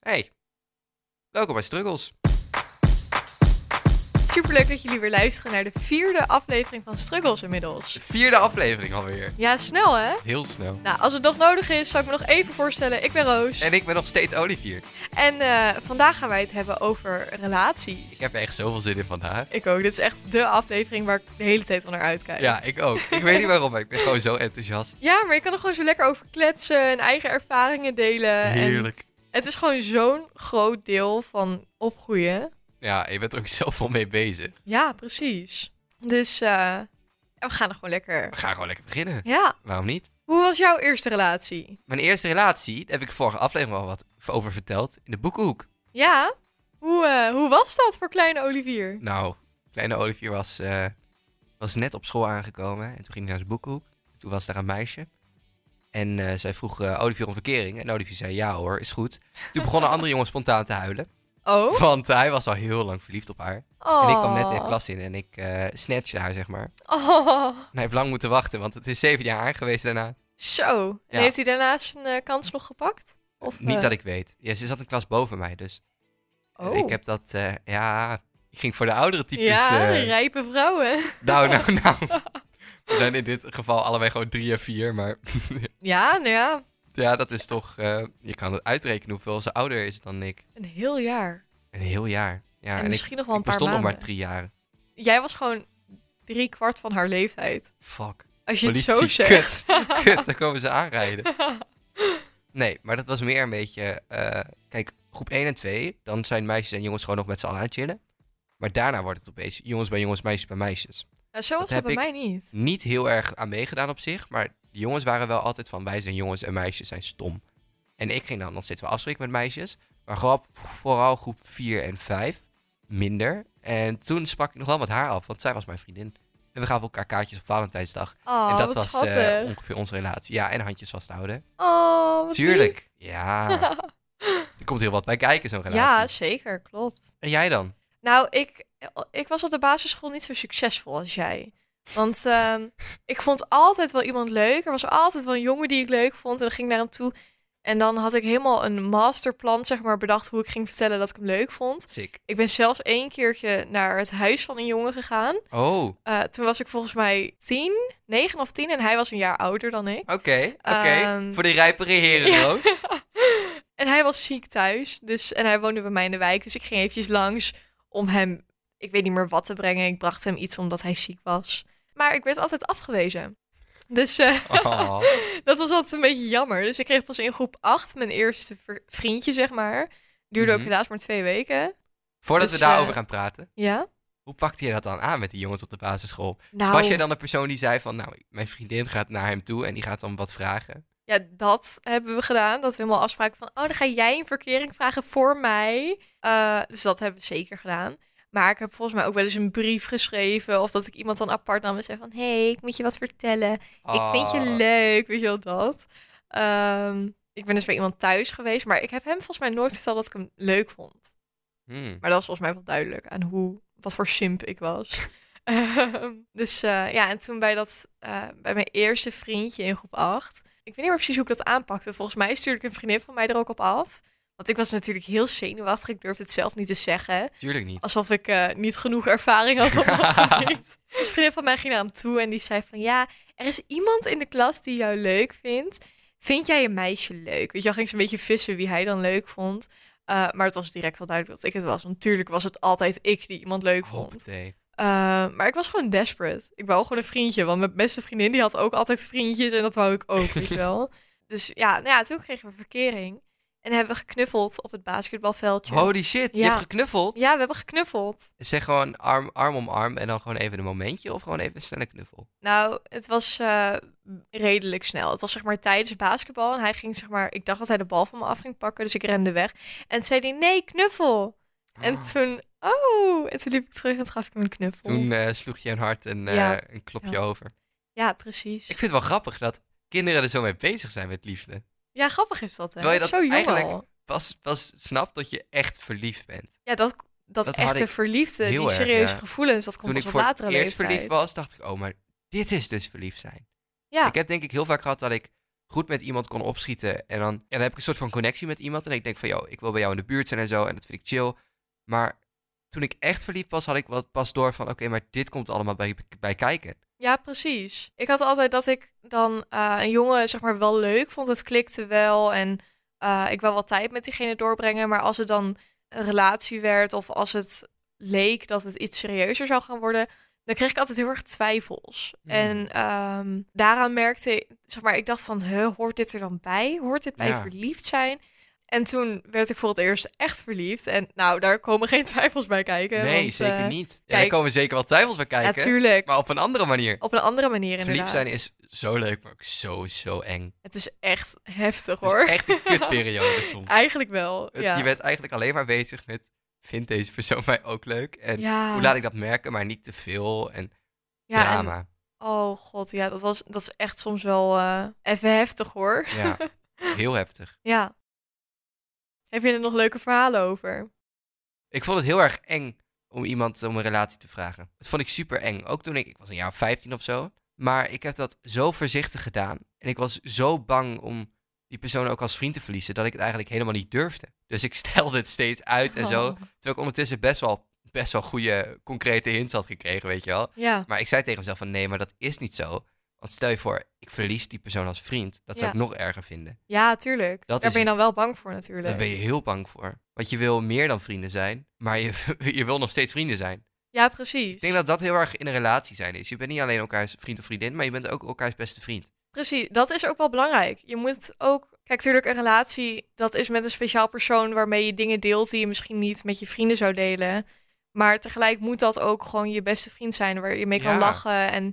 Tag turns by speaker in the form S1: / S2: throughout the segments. S1: Hey, welkom bij Struggles.
S2: Superleuk dat jullie weer luisteren naar de vierde aflevering van Struggles inmiddels.
S1: De vierde aflevering alweer.
S2: Ja, snel hè?
S1: Heel snel.
S2: Nou, als het nog nodig is, zal ik me nog even voorstellen. Ik ben Roos.
S1: En ik ben nog steeds Olivier.
S2: En eh, vandaag gaan wij het hebben over relaties.
S1: Ik heb er echt zoveel zin in vandaag.
S2: Ik ook. Dit is echt de aflevering waar ik de hele tijd al naar uitkijk.
S1: Ja, ik ook. Ik weet niet waarom, maar ik ben gewoon zo enthousiast.
S2: Ja, maar je kan er gewoon zo lekker over kletsen en eigen ervaringen
S1: Eh,
S2: delen. En
S1: Heerlijk.
S2: het is gewoon zo'n groot deel van opgroeien.
S1: Ja, je bent er ook zoveel mee bezig.
S2: Ja, precies. Dus eh, we gaan er gewoon lekker.
S1: We gaan gewoon lekker beginnen.
S2: Ja.
S1: Waarom niet?
S2: Hoe was jouw eerste relatie?
S1: Mijn eerste relatie, daar heb ik vorige aflevering al wat over verteld, in de boekhoek.
S2: Ja. Hoe, eh, hoe was dat voor kleine Olivier?
S1: Nou, kleine Olivier was, eh, was net op school aangekomen en toen ging hij naar de boekhoek. Toen was daar een meisje. En eh, zij vroeg eh, Olivier om verkering. En Olivier zei, ja hoor, is goed. Toen begonnen andere jongens spontaan te huilen.
S2: Oh.
S1: Want hij was al heel lang verliefd op haar.
S2: oh.
S1: En ik kwam net in de klas in en ik eh snatchte haar, zeg maar. En
S2: Oh.
S1: hij heeft lang moeten wachten, want het is zeven jaar aangewezen daarna.
S2: Zo. En
S1: Ja.
S2: heeft hij daarna zijn eh, kans nog gepakt? Of,
S1: Niet dat ik weet. Ja, ze zat een klas boven mij, dus eh,
S2: Eh. Oh.
S1: ik heb dat... eh, ja, ik ging voor de oudere types...
S2: Ja,
S1: eh,
S2: rijpe vrouwen.
S1: Nou, nou, nou. We zijn in dit geval allebei gewoon drie en vier, maar
S2: Ja, nou ja.
S1: ja, dat is toch... eh, je kan het uitrekenen hoeveel ze ouder is dan ik.
S2: Een heel jaar.
S1: Een heel jaar. Ja,
S2: en,
S1: en ik,
S2: misschien nog wel een
S1: ik
S2: paar
S1: bestond nog
S2: maanden.
S1: maar drie jaar.
S2: Jij was gewoon drie kwart van haar leeftijd.
S1: Fuck.
S2: Als je het zo
S1: Politie,
S2: zegt.
S1: Kut, dan komen ze aanrijden. Nee, maar dat was meer een beetje... eh, kijk, groep 1 en 2, dan zijn meisjes en jongens gewoon nog met z'n allen aan het chillen. Maar daarna wordt het opeens jongens bij jongens, meisjes bij meisjes.
S2: Nou, zo was
S1: heb
S2: dat bij
S1: ik-
S2: mij niet.
S1: Niet heel erg aan meegedaan op zich, maar de jongens waren wel altijd van wij zijn jongens en meisjes zijn stom. En ik ging dan nog steeds wel afspreken met meisjes, maar gewoon vooral groep 4 en 5 minder. En toen sprak ik nog wel met haar af, want zij was mijn vriendin. En we gaven elkaar kaartjes op Valentijnsdag.
S2: Oh,
S1: en dat
S2: wat
S1: was eh,
S2: schattig.
S1: ongeveer onze relatie. Ja, en handjes vasthouden.
S2: oh, wat
S1: Tuurlijk.
S2: lief.
S1: Ja. er komt heel wat bij kijken, zo'n relatie.
S2: Ja, zeker. Klopt.
S1: En jij dan?
S2: Nou, ik, ik was op de basisschool niet zo succesvol als jij. Want ehm, ik vond altijd wel iemand leuk. Er was altijd wel een jongen die ik leuk vond. En dan ging ik naar hem toe. En dan had ik helemaal een masterplan, zeg maar, bedacht hoe ik ging vertellen dat ik hem leuk vond.
S1: Sick.
S2: Ik ben zelfs één keertje naar het huis van een jongen gegaan.
S1: Oh, oké.
S2: Eh, toen was ik volgens mij tien, negen of tien. En hij was een jaar ouder dan ik.
S1: Oké.
S2: Ehm,
S1: Voor de rijpere heren,
S2: ja.
S1: Roos.
S2: En hij was ziek thuis. Dus, en hij woonde bij mij in de wijk. Dus ik ging eventjes langs om hem, ik weet niet meer wat te brengen. Ik bracht hem iets omdat hij ziek was. Maar ik werd altijd afgewezen. Dus eh,
S1: Oh.
S2: dat was altijd een beetje jammer. Dus ik kreeg pas in groep 8 mijn eerste ver- vriendje, zeg maar. Duurde
S1: Mhm.
S2: ook helaas maar twee weken.
S1: Voordat
S2: Dus,
S1: we daarover
S2: eh,
S1: gaan praten,
S2: Ja.
S1: hoe pakte je dat dan aan met die jongens op de basisschool? Dus
S2: Nou,
S1: was jij dan de persoon die zei van, nou, mijn vriendin gaat naar hem toe en die gaat dan wat vragen?
S2: ja, dat hebben we gedaan. Dat we helemaal afspraken van, oh, dan ga jij een verkering vragen voor mij. Eh, dus dat hebben we zeker gedaan. Maar ik heb volgens mij ook wel eens een brief geschreven. Of dat ik iemand dan apart nam en zei van... Hé, hey, ik moet je wat vertellen. Ik vind je
S1: Ah,
S2: leuk. Weet je wel dat? Ehm, ik ben dus bij iemand thuis geweest. Maar ik heb hem volgens mij nooit verteld dat ik hem leuk vond.
S1: hmm.
S2: Maar dat was volgens mij wel duidelijk aan hoe... Wat voor simp ik was. Ehm, dus eh, ja, en toen bij, dat, eh, bij mijn eerste vriendje in groep 8... Ik weet niet meer precies hoe ik dat aanpakte. Volgens mij stuurde ik een vriendin van mij er ook op af. Want ik was natuurlijk heel zenuwachtig. Ik durfde het zelf niet te zeggen.
S1: Tuurlijk niet.
S2: Alsof ik eh, niet genoeg ervaring had op dat gebied. Dus een vriendin van mij ging naar hem toe en die zei van... Ja, er is iemand in de klas die jou leuk vindt. Vind jij een meisje leuk? Weet je, al ging ze een beetje vissen wie hij dan leuk vond. Eh, maar het was direct al duidelijk dat ik het was. Want natuurlijk was het altijd ik die iemand leuk vond.
S1: Hoppatee.
S2: Eh, maar ik was gewoon desperate. Ik wou gewoon een vriendje. Want mijn beste vriendin die had ook altijd vriendjes. En dat wou ik ook, weet je wel. Dus ja, nou ja, toen kregen we verkering. En hebben we geknuffeld op het basketbalveldje.
S1: Holy shit, je
S2: Ja.
S1: hebt geknuffeld?
S2: Ja, we hebben geknuffeld.
S1: Zeg gewoon arm, arm om arm en dan gewoon even een momentje of gewoon even een snelle knuffel?
S2: Nou, het was eh, redelijk snel. Het was zeg maar tijdens basketbal. En hij ging zeg maar, ik dacht dat hij de bal van me af ging pakken. Dus ik rende weg. En toen zei hij, nee, knuffel. En
S1: Ah.
S2: toen, oh. En toen liep ik terug en toen gaf ik hem een knuffel.
S1: Toen eh, sloeg je een hart en eh,
S2: Ja.
S1: een klopje
S2: Ja.
S1: over.
S2: Ja, precies.
S1: Ik vind het wel grappig dat kinderen er zo mee bezig zijn met liefde.
S2: Ja, grappig is dat hè.
S1: Terwijl je dat
S2: Zo jong
S1: eigenlijk
S2: al.
S1: Pas, pas snap dat je echt verliefd bent.
S2: Ja, dat, dat,
S1: dat had
S2: echte
S1: ik
S2: verliefde,
S1: heel
S2: die
S1: erg,
S2: serieuze
S1: ja.
S2: gevoelens, dat komt
S1: Toen ik
S2: pas op
S1: voor het
S2: latere
S1: eerst
S2: leeftijd.
S1: verliefd was, dacht ik, oh, maar dit is dus verliefd zijn.
S2: Ja.
S1: Ik heb denk ik heel vaak gehad dat ik goed met iemand kon opschieten. En dan, ja, dan heb ik een soort van connectie met iemand. En ik denk van, joh, ik wil bij jou in de buurt zijn en zo. En dat vind ik chill. Maar toen ik echt verliefd was, had ik wel pas door van... Oké, maar dit komt allemaal bij, bij kijken.
S2: Ja, precies. Ik had altijd dat ik dan eh, een jongen zeg maar wel leuk vond. Het klikte wel en eh, ik wil wat tijd met diegene doorbrengen. Maar als het dan een relatie werd of als het leek dat het iets serieuzer zou gaan worden, dan kreeg ik altijd heel erg twijfels.
S1: Hmm.
S2: En ehm, daaraan merkte ik, zeg maar, ik dacht van, huh, hoort dit er dan bij? Hoort dit bij
S1: Ja.
S2: verliefd zijn? En toen werd ik voor het eerst echt verliefd. En nou, daar komen geen twijfels bij kijken.
S1: nee,
S2: want,
S1: zeker
S2: eh,
S1: niet. Ja, daar
S2: kijk-
S1: komen zeker wel twijfels bij kijken.
S2: Natuurlijk.
S1: Maar op een andere manier.
S2: Op een andere manier
S1: Verliefd
S2: inderdaad.
S1: zijn is zo leuk, maar ook zo, zo eng.
S2: Het is echt heftig
S1: Het
S2: hoor.
S1: is echt een kutperiode soms.
S2: Eigenlijk wel.
S1: Het-
S2: ja.
S1: Je bent eigenlijk alleen maar bezig met... Vindt deze persoon mij ook leuk? En
S2: ja.
S1: hoe laat ik dat merken, maar niet te veel. En
S2: ja, en-
S1: drama.
S2: oh god, ja, dat, was, dat is echt soms wel eh, even heftig hoor.
S1: Ja, heel heftig.
S2: Ja. Heb je er nog leuke verhalen over?
S1: Ik vond het heel erg eng om iemand om een relatie te vragen. Dat vond ik super eng. Ook toen ik, ik was een jaar of 15 of zo. Maar ik heb dat zo voorzichtig gedaan. En ik was zo bang om die persoon ook als vriend te verliezen. dat ik het eigenlijk helemaal niet durfde. Dus ik stelde het steeds uit en zo.
S2: Oh.
S1: Terwijl ik ondertussen best wel, best wel goede concrete hints had gekregen, weet je wel.
S2: Ja,
S1: Maar ik zei tegen mezelf: van nee, maar dat is niet zo. Want stel je voor, ik verlies die persoon als vriend. Dat zou
S2: Ja.
S1: ik nog erger vinden.
S2: ja tuurlijk.
S1: Dat
S2: Daar
S1: is-
S2: ben je dan wel bang voor natuurlijk.
S1: Daar ben je heel bang voor. Want je wil meer dan vrienden zijn, maar je, je wil nog steeds vrienden zijn.
S2: Ja, precies.
S1: Ik denk dat dat heel erg in een relatie zijn is. Je bent niet alleen elkaars vriend of vriendin, maar je bent ook elkaars beste vriend.
S2: Precies, dat is ook wel belangrijk. Je moet ook... Kijk, natuurlijk een relatie, dat is met een speciaal persoon waarmee je dingen deelt die je misschien niet met je vrienden zou delen. Maar tegelijk moet dat ook gewoon je beste vriend zijn, waar je mee kan
S1: Ja.
S2: lachen en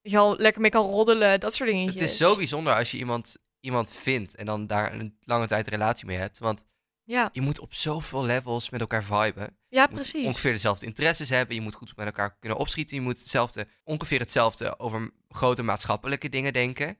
S2: weet je al lekker mee kan roddelen, dat soort dingetjes.
S1: Het is zo bijzonder als je iemand, iemand vindt en dan daar een lange tijd een relatie mee hebt. Want
S2: Ja,
S1: je moet op zoveel levels met elkaar viben.
S2: ja
S1: Je moet
S2: precies.
S1: ongeveer dezelfde interesses hebben. Je moet goed met elkaar kunnen opschieten. Je moet hetzelfde, ongeveer hetzelfde over grote maatschappelijke dingen denken.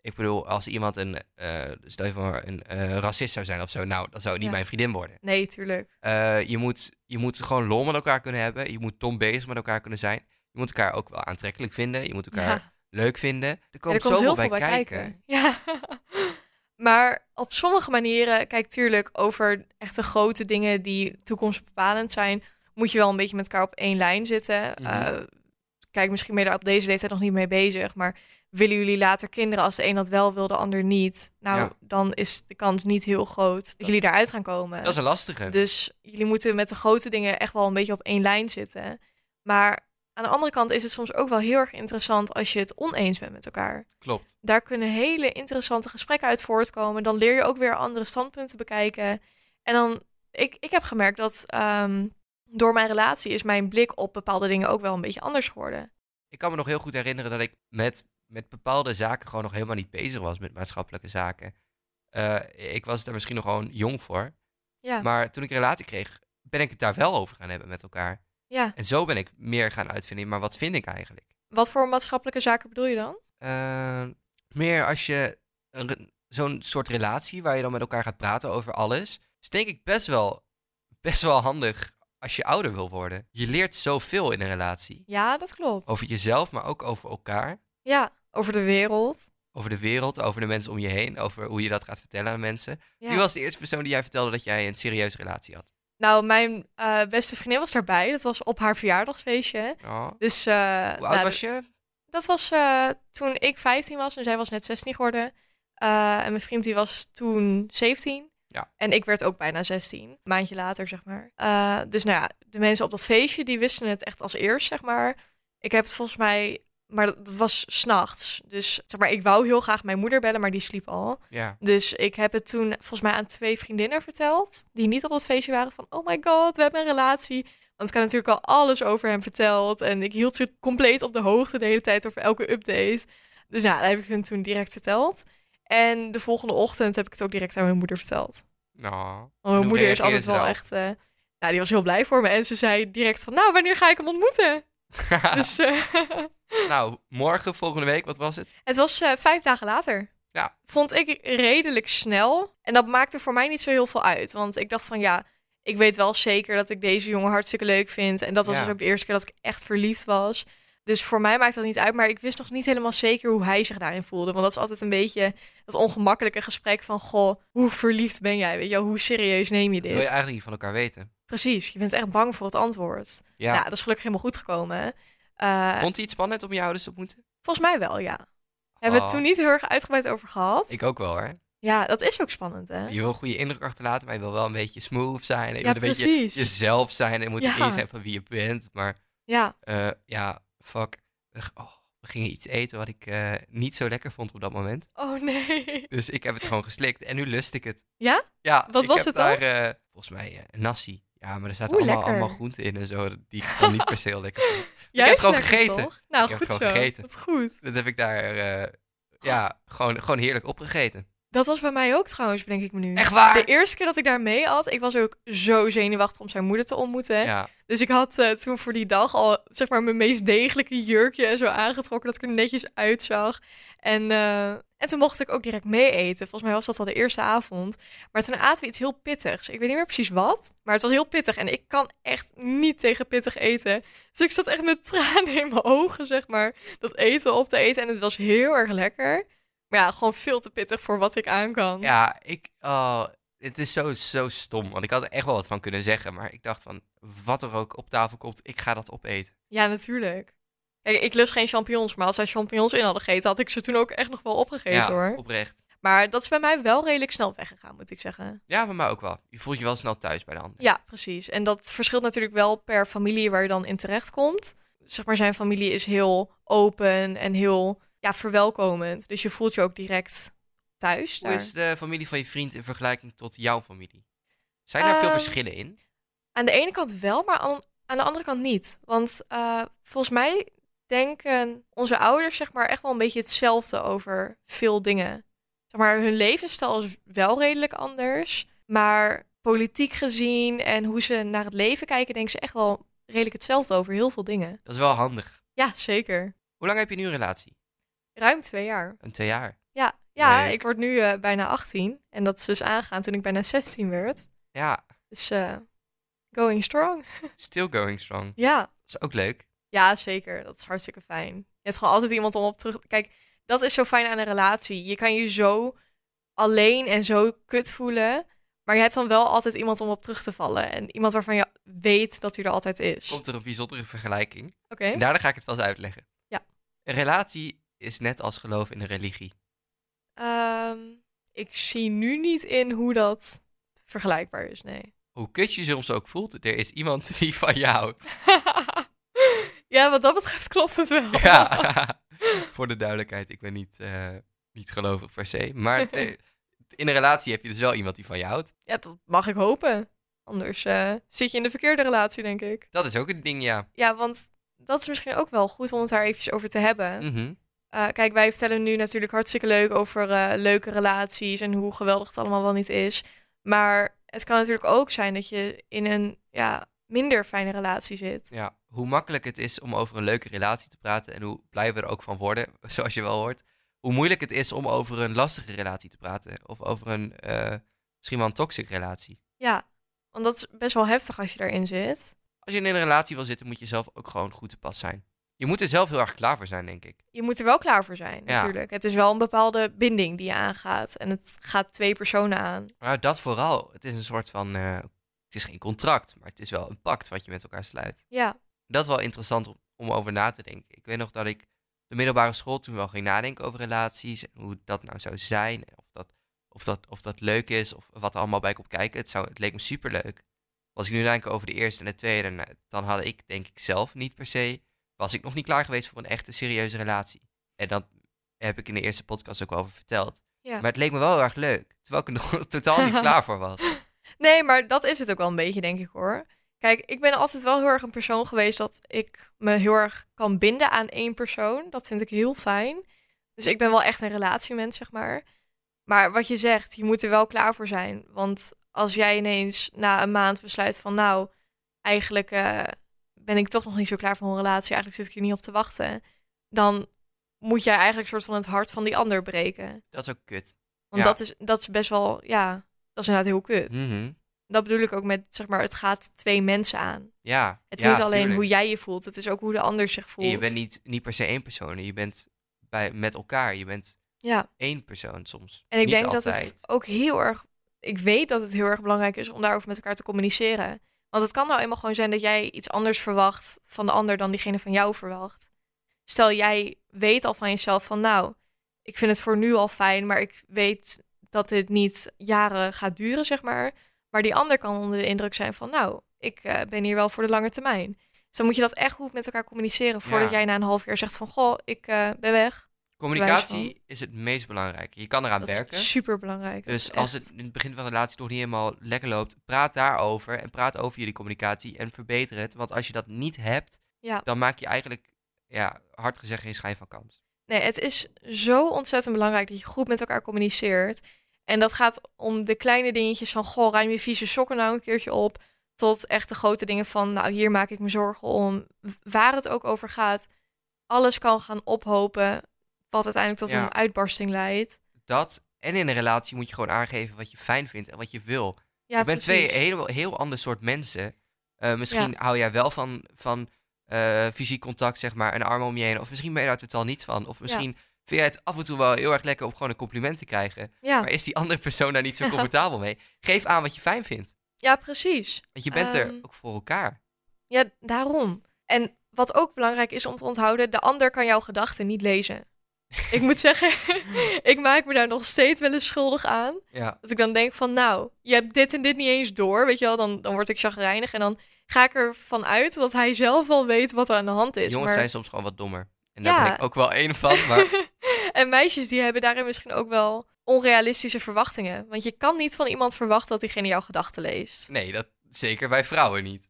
S1: Ik bedoel, als iemand een, eh, stel je voor, een eh, racist zou zijn of zo, nou, dan zou het niet
S2: Ja.
S1: mijn vriendin worden.
S2: Nee, tuurlijk.
S1: Eh, je, moet, je moet gewoon lol met elkaar kunnen hebben. Je moet dom bezig met elkaar kunnen zijn. Je moet elkaar ook wel aantrekkelijk vinden. Je moet
S2: Ja.
S1: elkaar leuk vinden. Er komt,
S2: Ja, er komt
S1: zoveel
S2: heel veel bij kijken.
S1: kijken.
S2: Ja. maar op sommige manieren, kijk, tuurlijk, over echte grote dingen die toekomstbepalend zijn, moet je wel een beetje met elkaar op één lijn zitten.
S1: Mhm.
S2: Eh, kijk, misschien ben je daar op deze leeftijd nog niet mee bezig, maar willen jullie later kinderen als de een dat wel wil, de ander niet? Nou,
S1: Ja.
S2: dan is de kans niet heel groot dat, jullie daaruit gaan komen.
S1: Dat is een lastige.
S2: Dus jullie moeten met de grote dingen echt wel een beetje op één lijn zitten. Maar aan de andere kant is het soms ook wel heel erg interessant als je het oneens bent met elkaar.
S1: Klopt.
S2: Daar kunnen hele interessante gesprekken uit voortkomen. Dan leer je ook weer andere standpunten bekijken. En dan, ik, ik heb gemerkt dat ehm, door mijn relatie is mijn blik op bepaalde dingen ook wel een beetje anders geworden.
S1: Ik kan me nog heel goed herinneren dat ik met, met bepaalde zaken gewoon nog helemaal niet bezig was met maatschappelijke zaken. Eh, ik was daar misschien nog gewoon jong voor.
S2: Ja,
S1: Maar toen ik een relatie kreeg, ben ik het daar wel over gaan hebben met elkaar.
S2: ja.
S1: En zo ben ik meer gaan uitvinden. Maar wat vind ik eigenlijk?
S2: Wat voor maatschappelijke zaken bedoel je dan?
S1: Eh, meer als je een re- zo'n soort relatie waar je dan met elkaar gaat praten over alles, is denk ik best wel, best wel handig als je ouder wil worden. Je leert zoveel in een relatie.
S2: Ja, dat klopt.
S1: Over jezelf, maar ook over elkaar.
S2: Ja, over de wereld.
S1: Over de wereld, over de mensen om je heen, over hoe je dat gaat vertellen aan mensen.
S2: Ja.
S1: Wie was de eerste persoon die jij vertelde dat jij een serieuze relatie had?
S2: Nou, mijn eh, beste vriendin was daarbij. Dat was op haar verjaardagsfeestje.
S1: Oh.
S2: Dus eh,
S1: Hoe
S2: nou,
S1: oud was je?
S2: dat was eh, toen ik 15 was en zij was net 16 geworden. Eh, en mijn vriend die was toen 17.
S1: Ja.
S2: En ik werd ook bijna 16, een maandje later zeg maar. Eh, dus nou ja, de mensen op dat feestje die wisten het echt als eerst zeg maar. Ik heb het volgens mij, maar dat, dat was s'nachts. Dus zeg maar, ik wou heel graag mijn moeder bellen, maar die sliep al.
S1: Ja.
S2: Dus ik heb het toen volgens mij aan twee vriendinnen verteld. Die niet op dat feestje waren van, oh my god, we hebben een relatie. Want ik had natuurlijk al alles over hem verteld. En ik hield ze compleet op de hoogte de hele tijd over elke update. Dus ja, dat heb ik hun toen direct verteld. En de volgende ochtend heb ik het ook direct aan mijn moeder verteld.
S1: Nou.
S2: Want mijn
S1: Hoe
S2: moeder is
S1: reageerde
S2: altijd
S1: ze
S2: wel
S1: dan?
S2: echt... eh, nou, die was heel blij voor me. En ze zei direct van, nou, wanneer ga ik hem ontmoeten?
S1: Ah.
S2: Dus eh,
S1: nou, morgen, volgende week, wat was het?
S2: Het was eh, vijf dagen later.
S1: Ja.
S2: Vond ik redelijk snel. En dat maakte voor mij niet zo heel veel uit. Want ik dacht van ja, ik weet wel zeker dat ik deze jongen hartstikke leuk vind. En dat was
S1: Ja.
S2: dus ook de eerste keer dat ik echt verliefd was. Dus voor mij maakt dat niet uit. Maar ik wist nog niet helemaal zeker hoe hij zich daarin voelde. Want dat is altijd een beetje dat ongemakkelijke gesprek van... Goh, hoe verliefd ben jij? Weet je wel, hoe serieus neem je
S1: Dat wil je
S2: dit?
S1: eigenlijk niet van elkaar weten.
S2: Precies, je bent echt bang voor het antwoord.
S1: Ja.
S2: Nou, dat is gelukkig helemaal goed gekomen. Eh,
S1: Vond hij het spannend om je ouders te ontmoeten?
S2: volgens mij wel, ja. Hebben we
S1: Oh,
S2: het toen niet heel erg uitgebreid over gehad.
S1: Ik ook wel hoor.
S2: Ja, dat is ook spannend, hè?
S1: Je wil een goede indruk achterlaten, maar je wil wel een beetje smooth zijn. En je
S2: Ja,
S1: wil een beetje
S2: precies.
S1: jezelf zijn. En je moet
S2: Ja.
S1: eens zijn van wie je bent. Maar
S2: Ja,
S1: eh, ja, fuck. Ugh, oh, we gingen iets eten wat ik eh, niet zo lekker vond op dat moment.
S2: oh nee.
S1: Dus ik heb het gewoon geslikt. En nu lust ik het.
S2: Ja?
S1: Ja.
S2: Wat
S1: ik
S2: was
S1: heb
S2: het dan?
S1: daar, eh, volgens mij eh, nasi. Ja, maar er zaten
S2: Oeh,
S1: allemaal,
S2: lekker.
S1: allemaal groenten in en zo. Die ik dan niet per se heel lekker vond.
S2: Jij
S1: heb het gewoon
S2: lekker,
S1: gegeten.
S2: toch? Nou,
S1: Ik heb
S2: goed
S1: het
S2: zo.
S1: gewoon gegeten.
S2: Wat goed.
S1: Dat heb ik daar, eh, ja, gewoon, gewoon heerlijk opgegeten.
S2: Dat was bij mij ook trouwens, denk ik me nu.
S1: Echt waar?
S2: De eerste keer dat ik daar mee had, ik was ook zo zenuwachtig om zijn moeder te ontmoeten.
S1: Ja.
S2: Dus ik had eh, toen voor die dag al zeg maar mijn meest degelijke jurkje en zo aangetrokken dat ik er netjes uitzag. En, eh, en toen mocht ik ook direct mee eten. Volgens mij was dat al de eerste avond. Maar toen aten we iets heel pittigs. Ik weet niet meer precies wat, maar het was heel pittig. En ik kan echt niet tegen pittig eten. Dus ik zat echt met tranen in mijn ogen, zeg maar, dat eten op te eten. En het was heel erg lekker. Maar ja, gewoon veel te pittig voor wat ik aan kan.
S1: Ja, ik... Oh, het is zo, zo stom. Want ik had er echt wel wat van kunnen zeggen. Maar ik dacht van, wat er ook op tafel komt, ik ga dat opeten.
S2: Ja, natuurlijk. Kijk, ik lust geen champignons, maar als zij champignons in hadden gegeten, had ik ze toen ook echt nog wel opgegeten
S1: ja,
S2: hoor.
S1: oprecht.
S2: Maar dat is bij mij wel redelijk snel weggegaan, moet ik zeggen.
S1: Ja, bij mij ook wel. Je voelt je wel snel thuis bij de ander.
S2: Ja, precies. En dat verschilt natuurlijk wel per familie waar je dan in terecht komt. Zeg maar, zijn familie is heel open en heel ja, verwelkomend. Dus je voelt je ook direct thuis.
S1: Hoe
S2: Daar.
S1: is de familie van je vriend in vergelijking tot jouw familie? Zijn daar veel
S2: Ehm,
S1: verschillen in?
S2: Aan de ene kant wel, maar aan, aan de andere kant niet. Want eh, volgens mij denken onze ouders zeg maar, echt wel een beetje hetzelfde over veel dingen. Zeg maar, hun levensstijl is wel redelijk anders. Maar politiek gezien en hoe ze naar het leven kijken, denken ze echt wel redelijk hetzelfde over heel veel dingen.
S1: Dat is wel handig.
S2: Ja, zeker.
S1: Hoe lang heb je nu een relatie?
S2: Ruim twee jaar.
S1: Een twee jaar.
S2: Ja, ja
S1: Leuk.
S2: ik word nu eh, bijna 18. En dat is dus aangaan toen ik bijna 16 werd.
S1: Ja,
S2: Dus eh, going strong.
S1: still going strong.
S2: Ja.
S1: Dat is ook leuk.
S2: Ja, zeker. Dat is hartstikke fijn. Je hebt gewoon altijd iemand om op terug te Kijk, dat is zo fijn aan een relatie. Je kan je zo alleen en zo kut voelen. Maar je hebt dan wel altijd iemand om op terug te vallen. En iemand waarvan je weet dat hij er altijd is. Oké.
S1: Komt er een bijzondere vergelijking. En daarna ga ik het vast uitleggen.
S2: Ja.
S1: Een relatie is net als geloof in een religie.
S2: Ehm, ik zie nu niet in hoe dat vergelijkbaar is, nee.
S1: Hoe kut je je soms ook voelt, er is iemand die van je houdt.
S2: ja, wat dat betreft klopt het wel.
S1: Ja. Voor de duidelijkheid, ik ben niet, eh, niet gelovig per se. Maar eh, in een relatie heb je dus wel iemand die van je houdt.
S2: Ja, dat mag ik hopen. Anders eh, zit je in de verkeerde relatie, denk ik.
S1: Dat is ook een ding, ja.
S2: Ja, want dat is misschien ook wel goed om het daar eventjes over te hebben.
S1: Mhm.
S2: Eh, kijk, wij vertellen nu natuurlijk hartstikke leuk over eh, leuke relaties en hoe geweldig het allemaal wel niet is. Maar het kan natuurlijk ook zijn dat je in een ja, minder fijne relatie zit.
S1: Ja, hoe makkelijk het is om over een leuke relatie te praten en hoe blij we er ook van worden, zoals je wel hoort. Hoe moeilijk het is om over een lastige relatie te praten of over een eh, misschien wel een toxic relatie.
S2: Ja, want dat is best wel heftig als je daarin zit.
S1: Als je in een relatie wil zitten, moet je zelf ook gewoon goed te pas zijn. Je moet er zelf heel erg klaar voor zijn, denk ik.
S2: Je moet er wel klaar voor zijn,
S1: Ja.
S2: natuurlijk. Het is wel een bepaalde binding die je aangaat. En het gaat twee personen aan.
S1: Nou, dat vooral. Het is een soort van, eh, het is geen contract, maar het is wel een pact wat je met elkaar sluit.
S2: Ja,
S1: dat is wel interessant om, om over na te denken. Ik weet nog dat ik de middelbare school toen wel ging nadenken over relaties en hoe dat nou zou zijn. En of, dat, of, dat, of dat leuk is of wat er allemaal bij komt kijken. Het, zou, het leek me superleuk. Als ik nu denk over de eerste en de tweede, nou, dan had ik denk ik zelf niet per se, was ik nog niet klaar geweest voor een echte serieuze relatie. En dat heb ik in de eerste podcast ook wel over verteld.
S2: Ja.
S1: Maar het leek me wel heel erg leuk, terwijl ik er nog totaal niet klaar voor was.
S2: Nee, maar dat is het ook wel een beetje, denk ik hoor. Kijk, ik ben altijd wel heel erg een persoon geweest dat ik me heel erg kan binden aan één persoon. Dat vind ik heel fijn. Dus ik ben wel echt een relatiemens, zeg maar. Maar wat je zegt, je moet er wel klaar voor zijn. Want als jij ineens na een maand besluit van nou, eigenlijk eh, ben ik toch nog niet zo klaar voor een relatie. Eigenlijk zit ik hier niet op te wachten. Dan moet jij eigenlijk soort van het hart van die ander breken.
S1: Dat is ook kut.
S2: Want
S1: Ja.
S2: dat, is, dat is best wel, ja, dat is inderdaad heel kut.
S1: Mhm.
S2: Dat bedoel ik ook met, zeg maar, het gaat twee mensen aan.
S1: Ja,
S2: Het is
S1: ja,
S2: niet alleen
S1: tuurlijk.
S2: hoe jij je voelt, het is ook hoe de ander zich voelt.
S1: Je bent niet, niet per se één persoon. Je bent bij, met elkaar. Je bent
S2: Ja,
S1: één persoon soms.
S2: en ik
S1: Niet
S2: denk dat
S1: altijd.
S2: het ook heel erg, ik weet dat het heel erg belangrijk is om daarover met elkaar te communiceren. Want het kan nou eenmaal gewoon zijn dat jij iets anders verwacht van de ander dan diegene van jou verwacht. Stel, jij weet al van jezelf van, nou, ik vind het voor nu al fijn, maar ik weet dat dit niet jaren gaat duren, zeg maar. Maar die ander kan onder de indruk zijn van, nou, ik eh, ben hier wel voor de lange termijn. Dus dan moet je dat echt goed met elkaar communiceren voordat
S1: Ja.
S2: jij na een half jaar zegt van, goh, ik eh, ben weg. wijs
S1: Communicatie is het meest belangrijke. Je kan eraan
S2: Dat
S1: werken.
S2: is super belangrijk.
S1: Dus als het in het begin van de relatie nog niet helemaal lekker loopt, praat daarover en praat over jullie communicatie en verbeter het. Want als je dat niet hebt,
S2: Ja.
S1: dan maak je eigenlijk, ja, hard gezegd, geen schijn van kans.
S2: Nee, het is zo ontzettend belangrijk dat je goed met elkaar communiceert. En dat gaat om de kleine dingetjes van, goh, ruim je vieze sokken nou een keertje op. Tot echt de grote dingen van, nou, hier maak ik me zorgen om. W- Waar het ook over gaat, alles kan gaan ophopen. Wat uiteindelijk tot
S1: Ja.
S2: een uitbarsting leidt.
S1: Dat en in een relatie moet je gewoon aangeven wat je fijn vindt en wat je wil.
S2: Ja,
S1: je bent
S2: precies.
S1: twee heel, heel ander soort mensen. Eh, misschien hou jij wel van, van eh, fysiek contact, zeg maar, een arm om je heen. Of misschien ben je daar totaal niet van. Of misschien vind jij het af en toe wel heel erg lekker om gewoon een compliment te krijgen.
S2: Ja,
S1: Maar is die andere persoon daar niet zo comfortabel mee? Geef aan wat je fijn vindt.
S2: ja, precies.
S1: Want je bent er
S2: Ehm.
S1: ook voor elkaar.
S2: Ja, daarom. En wat ook belangrijk is om te onthouden, de ander kan jouw gedachten niet lezen. Ik moet zeggen, ik maak me daar nog steeds wel eens schuldig aan.
S1: Ja.
S2: Dat ik dan denk van, nou, je hebt dit en dit niet eens door, weet je wel. Dan, dan word ik chagrijnig en dan ga ik ervan uit dat hij zelf wel weet wat er aan de hand is.
S1: Jongens
S2: maar...
S1: zijn soms gewoon wat dommer. En daar ben
S2: Ja.
S1: ik ook wel één van. Maar
S2: en meisjes die hebben daarin misschien ook wel onrealistische verwachtingen. Want je kan niet van iemand verwachten dat diegene jouw gedachten leest.
S1: nee, dat zeker bij vrouwen niet.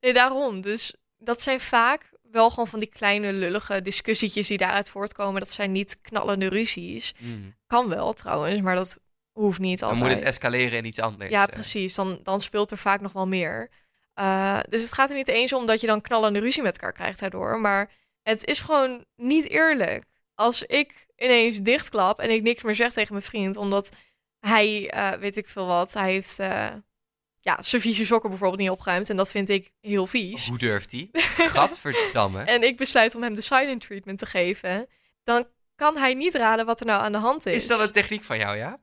S2: Nee, daarom. Dus dat zijn vaak wel gewoon van die kleine lullige discussietjes die daaruit voortkomen. Dat zijn niet knallende ruzies.
S1: Mm.
S2: Kan wel trouwens, maar dat hoeft niet
S1: Dan
S2: altijd.
S1: moet het escaleren in iets anders.
S2: Ja,
S1: eh.
S2: precies. Dan, dan speelt er vaak nog wel meer. Eh, dus het gaat er niet eens om dat je dan knallende ruzie met elkaar krijgt daardoor. Maar het is gewoon niet eerlijk. Als ik ineens dichtklap en ik niks meer zeg tegen mijn vriend, omdat hij, eh, weet ik veel wat, hij heeft eh, ja, zijn vieze sokken bijvoorbeeld niet opgeruimd. En dat vind ik heel vies.
S1: Oh, Hoe durft hij? Gadverdamme.
S2: En ik besluit om hem de silent treatment te geven. Dan kan hij niet raden wat er nou aan de hand is.
S1: Is dat een techniek van jou, ja?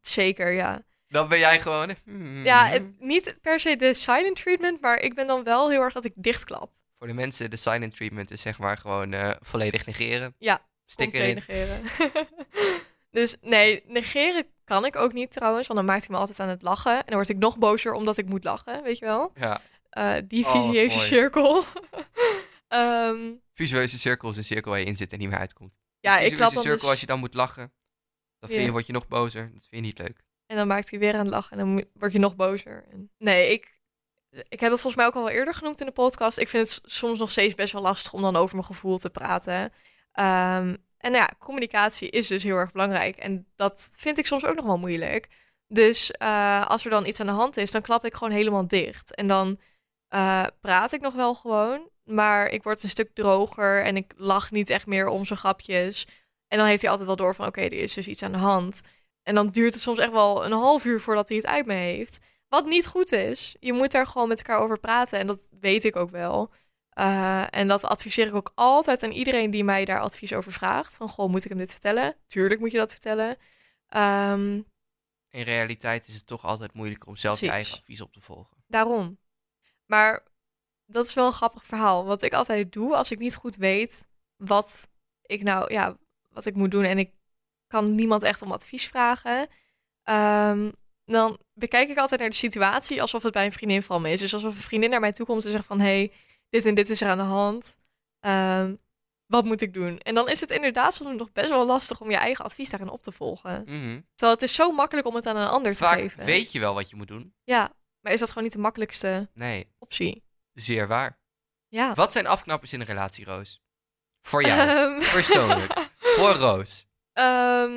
S2: Zeker, ja.
S1: Dan ben jij gewoon. hmm.
S2: Ja, het- niet per se de silent treatment, maar ik ben dan wel heel erg dat ik dichtklap.
S1: Voor de mensen, de silent treatment is zeg maar gewoon eh, volledig negeren.
S2: Ja,
S1: Stik
S2: Compleet
S1: erin.
S2: negeren. dus nee, negeren kan ik ook niet trouwens, want dan maakt hij me altijd aan het lachen. En dan word ik nog bozer omdat ik moet lachen, weet je wel?
S1: Ja.
S2: Eh, die
S1: Oh, wat
S2: visieuze
S1: mooi.
S2: cirkel. Ehm,
S1: Visueuze cirkel is een cirkel waar je in zit en niet meer uitkomt.
S2: ja,
S1: Een
S2: ik klap
S1: visueuze
S2: dan
S1: cirkel,
S2: dus-
S1: als je dan moet lachen, dan vind je,
S2: Ja.
S1: word je nog bozer. Dat vind je niet leuk.
S2: En dan maakt hij weer aan het lachen en dan moet- word je nog bozer. En- Nee, ik, ik heb dat volgens mij ook al wel eerder genoemd in de podcast. Ik vind het s- soms nog steeds best wel lastig om dan over mijn gevoel te praten. Ehm, en nou ja, communicatie is dus heel erg belangrijk. En dat vind ik soms ook nog wel moeilijk. Dus eh, als er dan iets aan de hand is, dan klap ik gewoon helemaal dicht. En dan eh, praat ik nog wel gewoon, maar ik word een stuk droger en ik lach niet echt meer om zijn grapjes. En dan heeft hij altijd wel door van, oké, er is dus iets aan de hand. En dan duurt het soms echt wel een half uur voordat hij het uit me heeft. Wat niet goed is. Je moet daar gewoon met elkaar over praten. En dat weet ik ook wel. Eh, en dat adviseer ik ook altijd aan iedereen die mij daar advies over vraagt. Van, goh, moet ik hem dit vertellen? Tuurlijk moet je dat vertellen. Ehm,
S1: In realiteit is het toch altijd moeilijker om zelf je
S2: Precies.
S1: eigen advies op te volgen.
S2: daarom. Maar dat is wel een grappig verhaal. Wat ik altijd doe als ik niet goed weet wat ik nou, ja, wat ik moet doen en ik kan niemand echt om advies vragen, ehm, dan bekijk ik altijd naar de situatie alsof het bij een vriendin van me is. Dus alsof een vriendin naar mij toe komt en zegt van, hé, hey, dit en dit is er aan de hand. Ehm, wat moet ik doen? En dan is het inderdaad soms nog best wel lastig om je eigen advies daarin op te volgen.
S1: Mhm.
S2: Terwijl het is zo makkelijk om het aan een ander te
S1: Vaak
S2: geven.
S1: weet je wel wat je moet doen.
S2: Ja, maar is dat gewoon niet de makkelijkste
S1: Nee,
S2: optie.
S1: zeer waar.
S2: Ja.
S1: Wat zijn afknappers in een relatie, Roos? Voor jou, persoonlijk. voor Roos.
S2: Ehm,